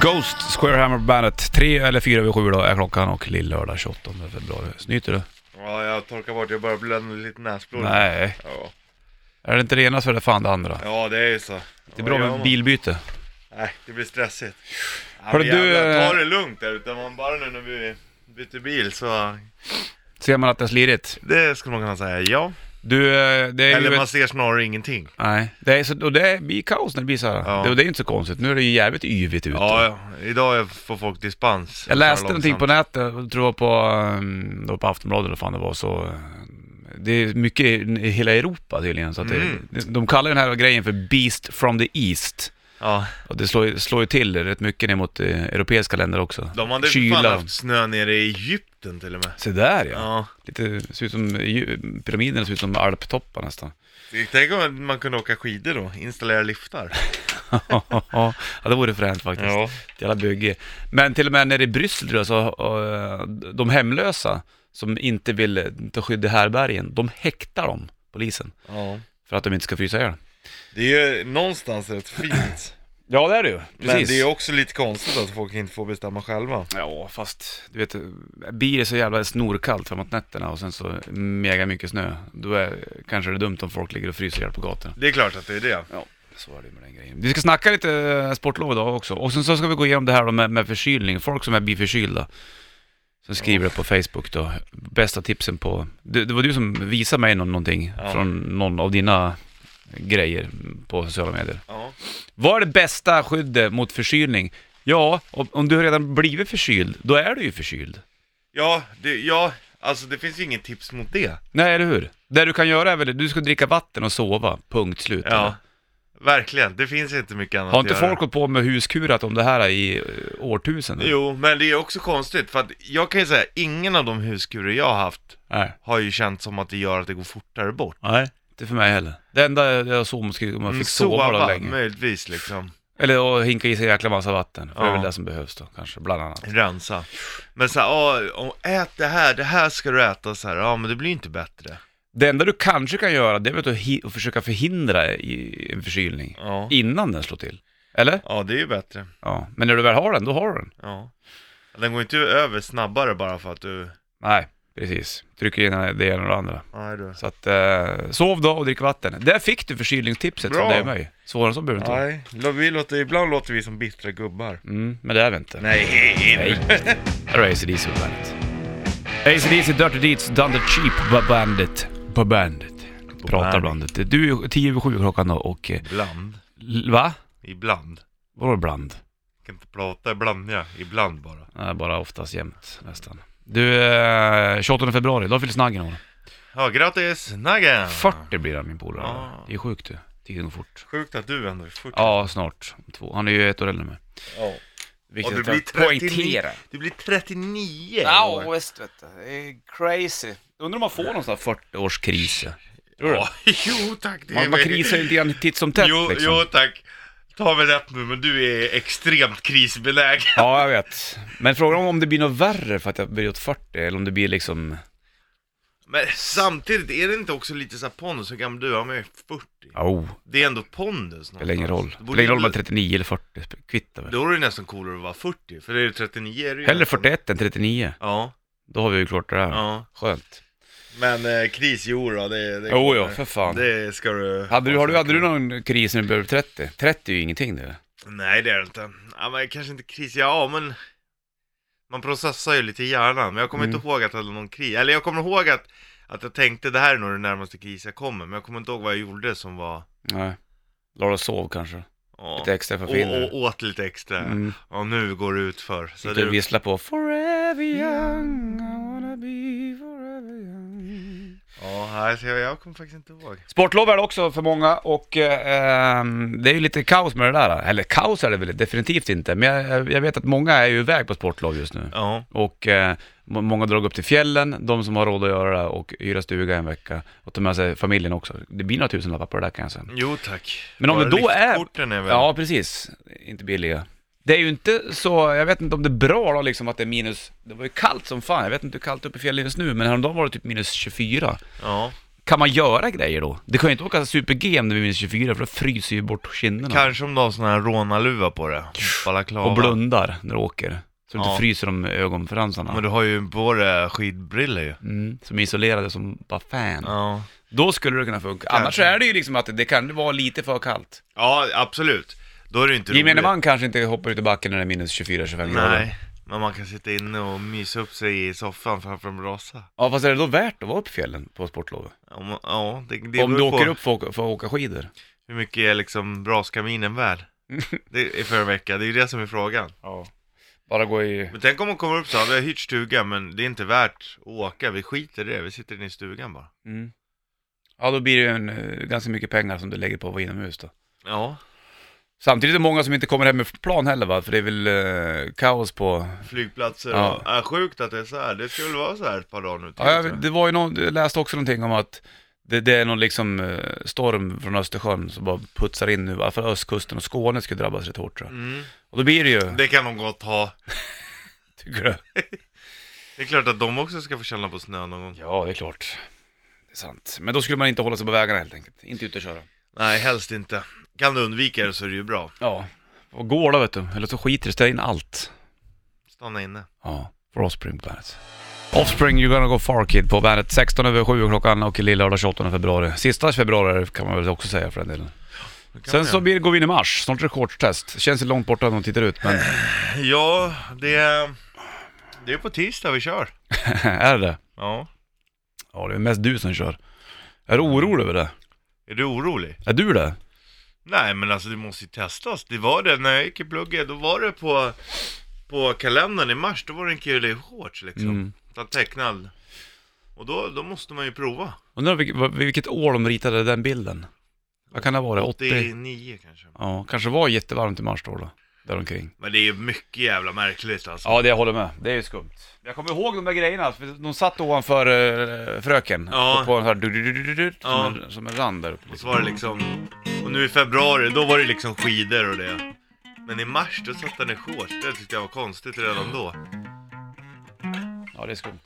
Ghost, Squarehammer Bandet. Tre eller fyra över sju då är klockan och lill-lördag 28 februari. Snyter du? Ja, jag torkar bort, jag bara bländar lite näsblod. Nej. Ja. Är det inte det ena så är det fan det andra. ja, det är ju så. Det är bra med bilbyte. Nej, det blir stressigt. Ja, Hörru, men du, jävlar, eh, ta det lugnt där utan man bara nu när vi byter bil så... Ser man att det är slirigt. Det skulle man kunna säga, ja. Du, eh, det är ju... Eller man Ett... ser snarare ingenting. Nej, det är så, och det är- blir kaos när det blir så här. Ja. Det, och det är inte så konstigt. Nu är det ju jävligt yvigt ute. Ja, ja, idag får folk dispens. Jag läste Så här någonting på långsamt. nätet, jag tror det var på, ehm, det var på Aftonbladet eller fan det var så. eh, Det är mycket i i hela Europa tydligen. Så att Mm. det, de kallar ju den här grejen för Beast from the East. Ja, Och det slår, ju- slår ju till rätt mycket ner mot eh, europeiska länder också. de hade ju fan Kyla. haft snö nere i Egypten till och med. Se där ja. Ja. Lite, ser ut som, ju- pyramiderna ser ut som alptoppar nästan. Tänk om man kunde åka skidor då, installera liftar. ja, det vore fränt faktiskt. Ja. Jävla bygge. Men till och med nere i Bryssel tror jag, så, eh, de hemlösa som inte vill eh, ta skydd i härbergen, de häktar dem, polisen. ja. För att de inte ska frysa ihjäl. Det är ju någonstans rätt fint. Ja, det är det ju. Men det är också lite konstigt att folk inte får bestämma själva. Ja, fast du vet, blir det så jävla snorkallt framåt nätterna och sen så mega mycket snö, då är, kanske det är dumt om folk ligger och fryser ihjäl på gatorna. Det är klart att det är det. Ja, så är det med den grejen. Vi ska snacka lite eh, sportlov idag också. Och sen så ska vi gå igenom det här då med, med förkylning, folk som är blir förkylda. Som skriver det på Facebook då, bästa tipsen på... Det, det var du som visade mig nå- någonting Ja. från någon av dina grejer på sociala medier. Ja. Vad är det bästa skyddet mot förkylning? Ja, om, om du har redan blivit förkyld, då är du ju förkyld. Ja, det, ja, alltså det finns ju inget tips mot det. Nej, eller hur? Det du kan göra är väl du ska dricka vatten och sova, punkt slut. eller? Verkligen, det finns inte mycket annat Har inte att göra. folk gått på med huskurat om det här i eh, årtusenden? Jo, men det är också konstigt för att jag kan ju säga, ingen av de huskurer jag har haft Nej. har ju känt som att det gör att det går fortare bort. Nej. Inte för mig heller. Det enda jag såg skulle om jag Mm, fick sova då länge. möjligtvis liksom. Eller och hinka i sig en jäkla massa vatten. För det är Ja. väl det som behövs då kanske, bland annat. Rensa. Men så här, ja, och ät det här, det här ska du äta så här, ja men det blir ju inte bättre. Det enda du kanske kan göra, det är väl att, hi- att försöka förhindra i- en förkylning. Ja. Innan den slår till. Eller? Ja, det är ju bättre. Ja. Men när du väl har den, då har du den. Ja. Den går inte över snabbare bara för att du... Nej, precis. Trycker in det ena och det andra. Nej du. Så att, eh, sov då och drick vatten. Där fick du förkylningstipset Bra. från dig och mig. Svårare än så behöver det inte vara. Nej, lo- vi låter, ibland låter vi som bittra gubbar. Mm, men det är vi inte. Nej, Nej. Här har ACDC på bandet. ACDC, Dirty Deeds, Dunder Cheap på bandet. På bandet. Pratar bandet. bandet. Du, är 10 över 7 klockan då och... eh, Ibland. l- Va? Ibland. Vadå bland? Jag kan inte prata ibland, ja. Ibland bara. Nej, bara oftast jämt nästan. Du, eh, 28 februari, då fylls Naggen år. Ja, grattis Naggen! 40 blir han min polare. Ja. Det är sjukt du. Tiden går fort. Sjukt att du ändå är 40. Ja, snart. Om Två. Han är ju ett år äldre än mig. Ja. Och Viktigt du att blir jag poängterar. 39. Du blir 39 i Ja, år. visst vet du. Det är crazy. Undrar om man får någon sån här 40-årskris. Tror du? Ja, Jo tack, det Man, man krisar ju lite grann titt som tätt jo, liksom. jo tack. Ta mig rätt nu, men du är extremt krisbenägen. Ja, jag vet. Men frågan är om det blir något värre för att jag blir åt 40 eller om det blir liksom... Men samtidigt, är det inte också lite så här pondus? Hur gammal du är? Ja, men jag är 40. Oh, Det är ändå pondus det spelar ingen roll. Det Det spelar ingen roll om man är borde- 39 eller 40, kvittar väl. Då är det nästan coolare att vara 40, för det är ju 39 är det ju Hellre nästan- 41 än 39. Ja, Då har vi ju klart det här. ja. Skönt. Men eh, kris, jodå, det, det Jo, ja, kommer. för fan. Det ska du... Hade du, har du, hade du någon kris när du blev 30? 30 är ju ingenting det. Nej, det är det inte. Ja, men kanske inte kris, ja men... Man processar ju lite i hjärnan, men jag kommer Mm. inte ihåg att jag hade någon kris. Eller jag kommer ihåg att, att jag tänkte det här är nog den närmaste kris jag kommer, men jag kommer inte ihåg vad jag gjorde som var... Nej. La och sov kanske. Ja. Lite extra för att och, få in det. och åt lite extra. Mm. Ja, nu går det ut för. Så Sitter och det, Mm. visslar på Forever young, I wanna be forever young. ja, nej, så jag, jag kommer faktiskt inte ihåg. Sportlov är det också för många och eh, ehm, det är ju lite kaos med det där. Eller kaos är det väl definitivt inte, men jag, jag vet att många är ju iväg på sportlov just nu. Ja, Och eh, må- många drar upp till fjällen, de som har råd att göra det och hyra stuga en vecka. Och ta med sig familjen också. Det blir några tusenlappar på det där kan jag säga. jo tack. Men om Bara det då är- liftkorten är väl... Ja, precis. Inte billiga. Det är ju inte så, jag vet inte om det är bra då liksom att det är minus, det var ju kallt som fan, jag vet inte hur kallt det är uppe i fjällen just nu, men häromdagen var det typ minus 24. ja. Kan man göra grejer då? Det kan ju inte åka super-G om det blir minus 24 för då fryser ju bort kinderna. Kanske om du har sån här rånarluva på dig. Balaklava. och blundar när du åker. Så du inte Ja. fryser om ögonfransarna. Men du har ju på dig skidbriller ju. Mm, som är isolerade som bara fan. Ja. Då skulle det kunna funka. Annars så Kanske. är det ju liksom att det kan vara lite för kallt. ja, absolut. Då är det ju inte Gemene roligt. man kanske inte hoppar ut i backen när det är minus 24-25 grader. Nej, men man kan sitta inne och mysa upp sig i soffan framför en brasa. Ja, fast är det då värt att vara uppe i fjällen på sportlovet? Om, ja, det, det Om du beror på åker upp för att, åka- för att åka skidor. hur mycket är liksom braskaminen värd? Det är för en vecka, det är ju det som är frågan. Bara gå i... Men tänk om hon kommer upp så här, vi har hyrt stuga men det är inte värt att åka, vi skiter i det, vi sitter inne i stugan bara. Mm. Ja, då blir det ju en, eh, ganska mycket pengar som du lägger på att vara inomhus då. Ja, Samtidigt är det många som inte kommer hem med plan heller va? För det är väl eh, kaos på... flygplatser Ja. och... Äh, sjukt att det är så här. det skulle vara så här ett par dagar nu till, liksom. Ja, tror jag. jag, det var ju någon, jag läste också någonting om att det, det är någon liksom eh, storm från Östersjön som bara putsar in nu, i alla fall östkusten och Skåne skulle drabbas rätt hårt tror jag. Mm, Och då blir det ju, det kan de gott ha. tycker du? Det är klart att de också ska få känna på snö någon gång. Ja, det är klart. Det är sant. Men då skulle man inte hålla sig på vägarna helt enkelt. Inte ute och köra. Nej, helst inte. Kan du undvika det så är det ju bra. Ja. Och går då vet du, eller så skiter det ställer in allt. Stanna inne. Ja, för Offspring på bandet. Offspring, you're gonna go far kid på bandet. 16 över 7 klockan och lillördag 28 februari. Sista februari kan man väl också säga för den delen. Det kan Sen man så göra. blir, går vi in i mars, snart är det shortstest. Känns ju långt borta när de tittar ut men Ja, det är... Det är på tisdag vi kör. är det Ja. Ja det är mest du som kör. Är du orolig över det? Är du orolig? Är du det? Nej, men alltså det måste ju testas. Det var det, när jag gick i plugget, då var det på, på kalendern i mars, då var det en kille i shorts liksom. Mm. Så här tecknad. Och då, då måste man ju prova. Undrar vilket, vad- vilket år de ritade den bilden? Vad kan det vara? 80? 89 kanske. Ja, kanske var jättevarmt i mars då, då däromkring. Men det är ju mycket jävla märkligt alltså. Ja, det jag håller med. Det är ju skumt. Jag kommer ihåg de där grejerna, för de satt ovanför eh, fröken. Ja. På en sån här du, du, du, du, du, som, Ja. en, som en rand där uppe. Och så var det liksom... Och nu i februari, då var det liksom skidor och det. Men i mars, då satt han i shorts. Det tyckte jag var konstigt redan då. Ja, det är skumt.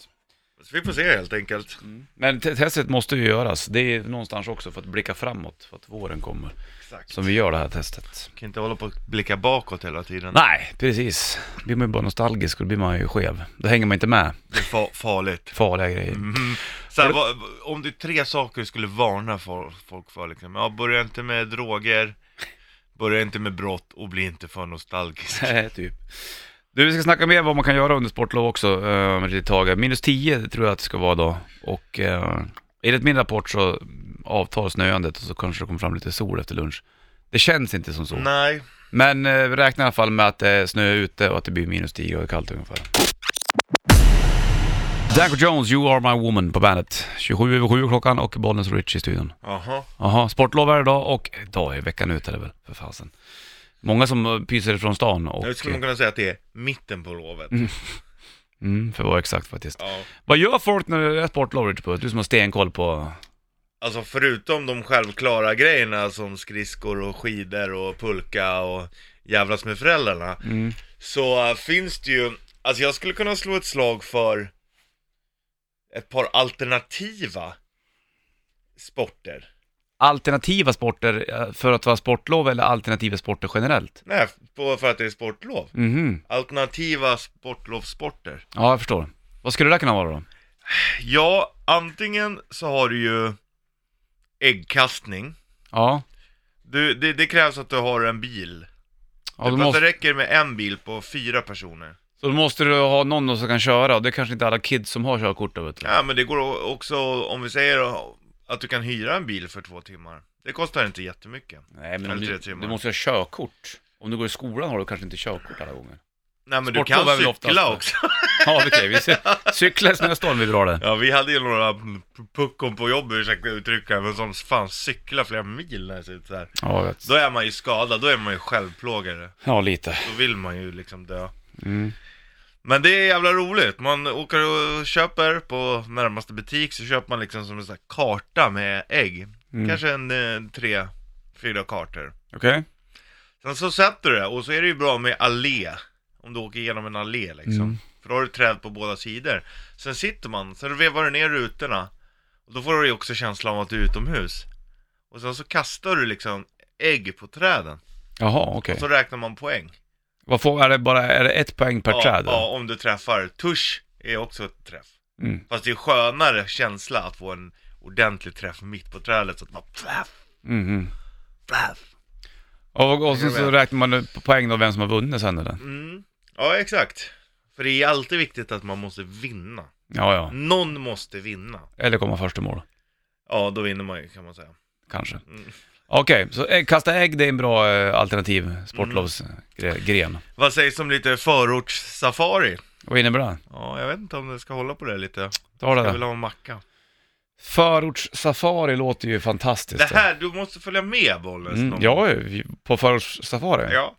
Så vi får se helt enkelt. Mm. Men te- testet måste ju göras. Det är någonstans också för att blicka framåt, för att våren kommer. Exakt. Som vi gör det här testet. Kan inte hålla på och blicka bakåt hela tiden. Nej, precis. Blir man ju bara nostalgisk och då blir man ju skev. Då hänger man inte med. Det är fa- farligt. Farliga grejer. Så här, vad, om det är tre saker du skulle varna for, folk för liksom. Ja, börja inte med droger, börja inte med brott och bli inte för nostalgisk. Nej, typ. Du, vi ska snacka mer vad man kan göra under sportlov också eh, om ett litet tag. Minus 10 tror jag att det ska vara då. Och eh, enligt min rapport så avtar snöandet och så kanske det kommer fram lite sol efter lunch. Det känns inte som så. Nej, Men eh, vi räknar i alla fall med att det är snö ute och att det blir minus 10 och det är kallt ungefär. Danko Jones, You Are My Woman på bandet. 27 över 7 klockan och Bollnäs och Rich i studion. jaha. Jaha, sportlov är idag och idag är veckan ut är det väl, för fasen. Många som eh, pyser från stan och... Nu skulle man kunna säga att det är mitten på lovet. Mm, för att vara exakt faktiskt. Ja. Vad gör folk när det är sportlov Richard Puss? Du som har stenkoll på... Alltså förutom de självklara grejerna som skridskor och skidor och pulka och jävlas med föräldrarna. Mm. Så äh, finns det ju, alltså jag skulle kunna slå ett slag för ett par alternativa sporter. Alternativa sporter eh, för att vara sportlov eller alternativa sporter generellt? Nej, på, för att det är sportlov. Mhm. Alternativa sportlovssporter. Ja, jag förstår. Vad skulle det där kunna vara då? Ja, antingen så har du ju äggkastning. Ja, Du, det, det krävs att du har en bil. ja det, då måste... måste, det räcker med en bil på fyra personer. så då måste du ha någon som kan köra och det är kanske inte alla kids som har körkort då vet du. Ja, men det går o- också, om vi säger att du kan hyra en bil för två timmar. Det kostar inte jättemycket. Nej, men om Eller du, tre timmar. du måste ha körkort. Om du går i skolan har du kanske inte körkort alla gånger. Nej, men du Sportlov är kan väl cykla oftast det. också. Ja, okej. vi ser- Cykla i snöstorm vi drar det. Ja, vi hade ju några p- puckon på jobbet, ursäkta uttrycket, men som fan cykla flera mil när det ser ut så här. Ja, jag vet. Då är man ju skadad, då är man ju självplågare. Ja, lite. Då vill man ju liksom dö. Mm. Men det är jävla roligt. Man åker och köper på närmaste butik så köper man liksom som en sån här karta med ägg. Mm. Kanske en eh, tre, fyra kartor. Okej. Sen så sätter du det och så är det ju bra med allé. Om du åker igenom en allé liksom. Mm. För då har du träd på båda sidor. Sen sitter man, sen vevar du ner rutorna. Och då får du ju också känslan av att du är utomhus. Och sen så kastar du liksom ägg på träden. Jaha, okej. Och så räknar man poäng. Vad får, är det bara är det ett poäng per ja, träd? då? Ja, om du träffar. Tusch är också ett träff. Mm. Fast det är skönare känsla att få en ordentlig träff mitt på trädet så att man plaff, Mhm. plaff. Och, och sen Jag så vet. räknar man på poäng då vem som har vunnit sen eller? Mm. Ja, exakt. För det är alltid viktigt att man måste vinna. Ja, Mm. ja. Någon måste vinna. Eller komma först i mål, Ja, då vinner man ju kan man säga. kanske. Mm. Okej, så ägg, kasta ägg det är en bra eh, alternativ sportlovsgren. Vad sägs om lite förortssafari? Vad innebär det? Ja, jag vet inte om du ska hålla på det lite. Ta det Jag vill där. ha en macka. Förortssafari låter ju fantastiskt. Det här, du måste följa med bollen. Mm, någon gång. ja, ju, på förortssafari. ja.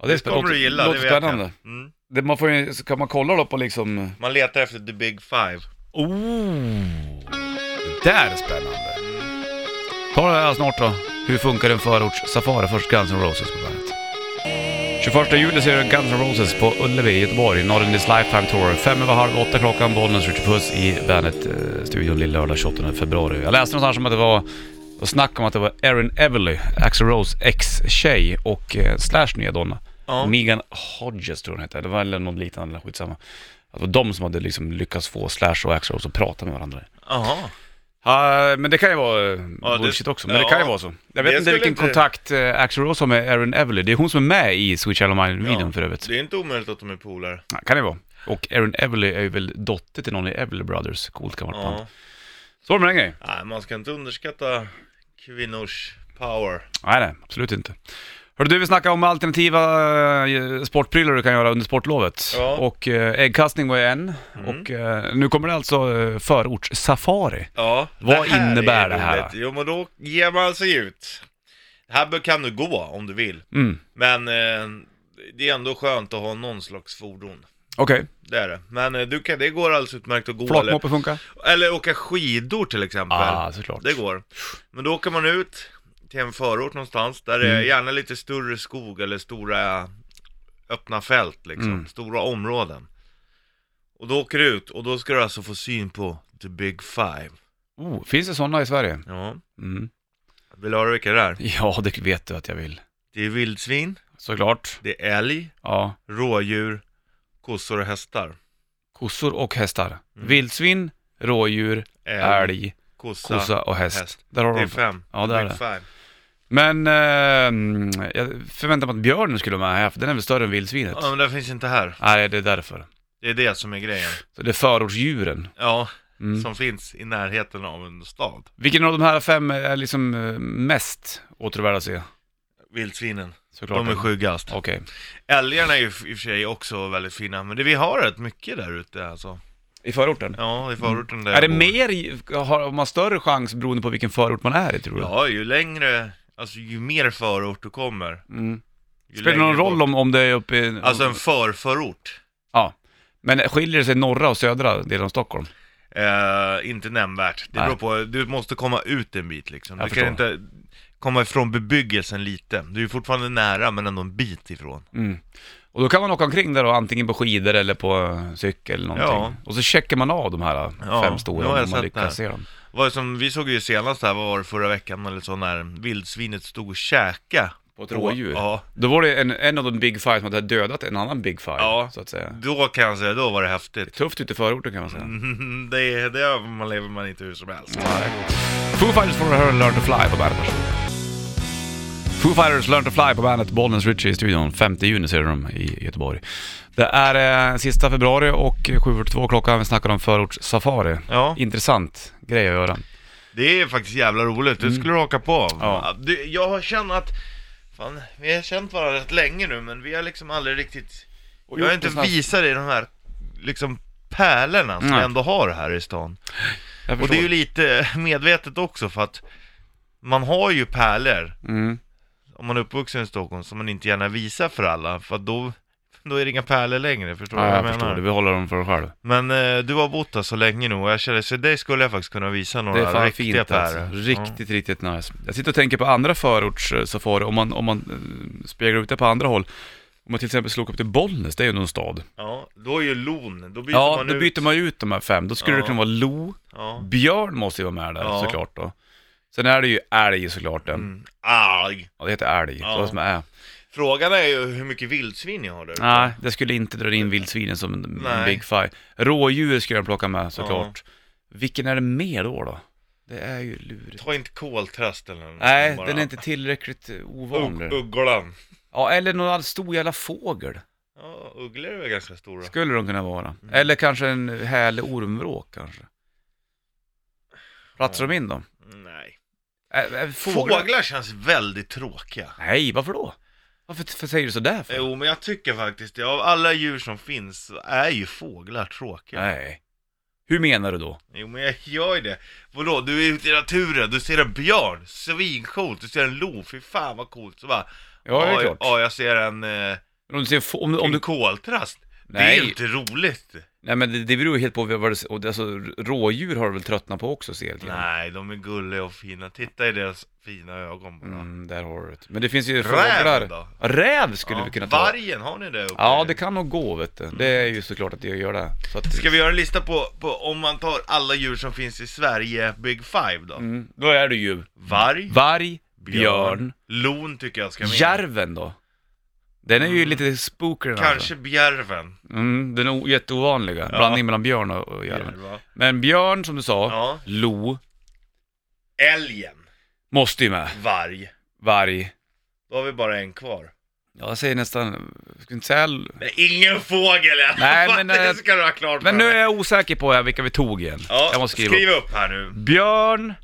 Ja, Det kommer låter- du gilla, det låter vet spännande. jag. Mm. Det, man får ju, så kan man kolla då på liksom... Man letar efter the big five. Oh! Det där är spännande. Ta det här snart då. Hur funkar en förortssafari? Först Guns N' Roses på bandet. 21 juli ser du Guns N' Roses på Ullevi i Göteborg, Not In This Lifetime Tour. Fem över halv åtta klockan, Bollnäs, Richard Puss i Bandet-studion lilla lördag 28 februari. Jag läste någonstans om att det var, och snack om att det var Erin Everly, Axl Rose ex-tjej och eh, Slash nya donna. Ja. Megan Hodges tror jag hon hette, det var eller någon liknande, eller skitsamma. Att det var de som hade liksom lyckats få Slash och Axl Rose att prata med varandra. Jaha. Ja, men det kan ju vara eh, det- bullshit också, men det ja. kan ju vara så. Jag vet Det inte skulle vilken inte- kontakt eh, Axl Rose har med Erin Everly. Det är hon som är med i Sweet Child of Mine-videon Ja. för övrigt. Det är inte omöjligt att de är polare. Ja, kan det vara. Och Erin Everly är ju väl dotter till någon i Everly Brothers. Coolt kan vara band. Ja. Så var det med den grejen. Nej, man ska inte underskatta kvinnors power. Nej, nej, absolut inte. Hörru du, vi snackade om alternativa eh, sportprylar du kan göra under sportlovet. Ja. Mm. Och eh, äggkastning var ju en. Och eh, nu kommer det alltså eh, förortssafari. Ja. Vad här innebär är det här? roligt. Jo, men då ger man sig ut. Här bör- kan du gå om du vill. Mm. Men eh, det är ändå skönt att ha någon slags fordon. Okej, Det är det. Men eh, du kan, det går alldeles utmärkt att gå. Eller, flakmoppe funkar? eller åka skidor till exempel. Ah, såklart. Det går. Men då åker man ut till en förort någonstans, där det är Mm. gärna lite större skog eller stora öppna fält liksom, Mm. stora områden. Och då åker du ut och då ska du alltså få syn på the big five. Oh, finns det sådana i Sverige? Ja, Mm. vill du höra vilka det är? Ja, det vet du att jag vill. Det är vildsvin, Såklart. det är älg, Ja. rådjur, kossor och hästar. Kossor och hästar. Mm. Vildsvin, rådjur, älg, kossa, kossa och häst. häst. Där har Det du är dem. fem. Ja, det The är big det. five. Men ehm, jag förväntar mig att björnen skulle vara med här, för den är väl större än vildsvinet? Ja, men det finns inte här. Nej, det är därför. Det är det som är grejen. Så det är förortsdjuren. Ja, Mm. som finns i närheten av en stad. Vilken av de här fem är liksom eh, mest återvärd att se? Vildsvinen. Såklart. De är sjukkast. Okej. Älgarna är ju f- i och för sig också väldigt fina, men det, vi har rätt mycket där ute alltså. I förorten? Ja, i förorten där Mm. Är det jag bor. mer, i- har har man större chans beroende på vilken förort man är i tror du? Ja, ju längre, alltså ju mer förort du kommer. Mm. Ju Spelar det någon längre roll bort. om, om det är uppe i... Alltså en förförort. Ja. Men skiljer det sig norra och södra delen av Stockholm? Eh, inte nämnvärt. Det Nej. beror på, du måste komma ut en bit liksom. Jag Du kan förstår. inte komma ifrån bebyggelsen lite. Du är ju fortfarande nära, men ändå en bit ifrån. Mm. Och då kan man åka omkring där då, antingen på skidor eller på eh, cykel eller någonting. Ja. Och så checkar man av de här eh, Ja, fem nu har stora jag om man sett det här. lyckas se dem. Vad som, vi såg ju senast här, vad var det förra veckan eller så, när vildsvinet stod och käkade. På ett rådjur? Ja. Då var det en, en av de big five som hade dödat en annan big five, Ja. så att säga. Då kan jag säga, då var det häftigt. Tufft ute i förorten kan man säga. Mm, Det, är- det man lever man inte hur som helst. Foo Fighters får höra Learn to Fly på bandet. Foo Fighters Learn to Fly på bandet, Bollnäs Ritchie i studion. 5 juni ser du dem i Göteborg. Det är eh, sista februari och 7.42 klockan. Vi snackar om förortssafari. Ja, Intressant grej att göra. det är faktiskt jävla roligt. Det skulle du haka på. Mm. Ja. Du, jag känner att, fan, vi har känt varandra rätt länge nu men vi har liksom aldrig riktigt, jag har inte visat dig de här liksom pärlorna som Nej. vi ändå har här i stan. Jag Och det är ju förstår. lite medvetet också för att man har ju pärlor, Mm. om man är uppvuxen i Stockholm, som man inte gärna visar för alla för att då, då är det inga pärlor längre, förstår du Ja, vad jag, jag menar? förstår det. Vi håller dem för oss själv. Men eh, du har bott där så länge nu och jag känner, så dig skulle jag faktiskt kunna visa Det några är fan riktiga fint alltså. pärlor. Riktigt, riktigt eh, nice. Jag sitter och tänker på andra förortssafari, om man, om man eh, speglar ut det på andra håll. Om man till exempel slog upp till Bollnäs, det är ju någon stad. Ja, då är ju lon, då byter ja, man då ut. byter man ut de här fem. Då skulle Ja. det kunna vara lo, Ja. björn måste ju vara med där Ja. såklart då. Sen är det ju älg såklart. Den. Mm. Arg. Ja, det heter älg. Ja. Så vad som är. Frågan är ju hur mycket vildsvin jag har där ute. Nej, det skulle inte dra in vildsvinen som en Nej. big five. Rådjur skulle jag plocka med såklart. Vilken är det mer då då? Det är ju lurigt. Ta inte koltrast eller något Nej, bara- den är inte tillräckligt eh, ovanlig. Ugg- Ugglan. Ja, eller någon all- stor jävla fågel. Ja, ugglor är väl ganska stora. Skulle de kunna vara. Mm. Eller kanske en härlig ormvråk kanske. Platsar de in dem? Nej. Ä- ä, Fåglar? Fåglar känns väldigt tråkiga. Nej, varför då? Varför varför säger du sådär för? Jo, men jag tycker faktiskt det. Av alla djur som finns så är ju fåglar tråkiga. Nej. Hur menar du då? Jo, men jag gör ju det. Vadå, du är ute i naturen, du ser en björn, svincoolt, du ser en lo, fy fan vad coolt. Så bara, Ja, det är "Oj, klart. Ja, jag ser en, eh, Om du ser få- om, om en du... koltrast. Det är Nej. ju inte roligt. Nej men det, det beror ju helt på vad det... och det- Alltså rådjur har du väl tröttnat på också ser jag lite grann. Nej, de är gulliga och fina. Titta i deras fina ögon bara. Mm, där har du det. Men det finns ju Räv fåglar. då? Räv skulle Ja. vi kunna ta. Vargen, har ni det uppe? Ja, det kan nog gå vet du. Det är ju såklart att jag gör det. Så att... Ska vi göra en lista på, på om man tar alla djur som finns i Sverige, Big Five då? mm, då är det ju Varg, varg, björn, lon tycker jag ska med. järven då. Den är ju lite spooker den alltså. Mm. Kanske bjärven. Mm, den är o- jätteovanliga. Ja. Blandning mellan björn och, och järven. Bjärva. Men björn som du sa, Ja. lo, Älgen, måste ju med. varg. Varg. Då har vi bara en kvar. Ja, jag säger nästan, ska inte säga... l- Nej, ingen fågel i alla Nej, fall. men, eh, det ska du ha klart Men för nu är dig. jag osäker på här vilka vi tog igen. ja, jag måste skriva skriv upp. upp här nu. Björn,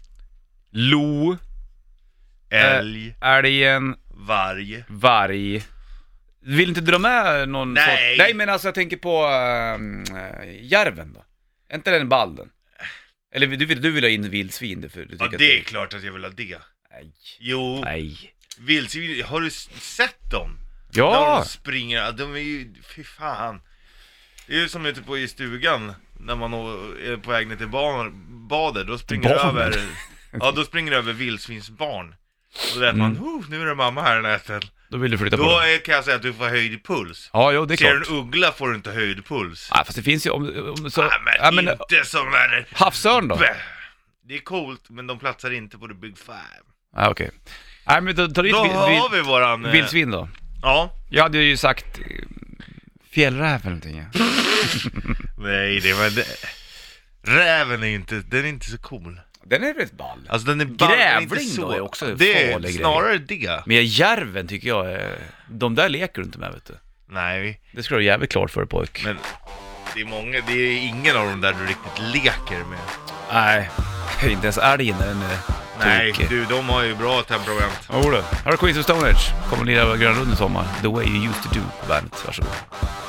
lo, Eh. Älg, älgen, varg. varg. Vill inte dra med någon Nej. sort- Nej men alltså jag tänker på ehm, eh, järven då. Är inte den balden? Eller du vill, du vill ha in vildsvin du, för du tycker Ja, att det är klart att jag vill ha det. Nej. Jo, Nej. vildsvin, har du s- sett dem? När Ja! de springer, de är ju, fy fan. Det är ju som ute på i stugan, när man å- är på väg ner till ba- badet, då springer det Barnen. över, ja då springer det över vildsvinsbarn. Och då vet man, Mm. oh, nu är det mamma här i nätet. Då vill du flytta på Då den. är, kan jag säga att du får höjd puls. Ja, jo det är Ser du klart. en uggla får du inte höjd puls. Ja, fast det finns ju om... om så, Nej men, ja, men inte som när havsörn då? Det är coolt, men de platsar inte på the big five. Ja, okej. Nej men då tar du Då inte vil- har vil- vi våran... eh, vildsvin då. Ja. Jag hade ju sagt eh, fjällräv eller någonting. ja. Nej, det var... Det... Räven är ju inte, den är inte så cool. Den är väl ett ball? Alltså den är ball, den Grävling inte då är också en Det är farlig grej. snarare det. Men järven tycker jag är... De där leker du inte med vet du. Nej, Det ska du ha jävligt klart för pojk. men det är många, det är ingen av dem där du riktigt leker med. Nej, inte ens älgen är en eh, Nej, tokig. du, de har ju bra temperament. Jodå. Här har Queens of Stone Age. Kommer lira Gröna Lund i sommar. The way you used to do på bandet. Varsågod.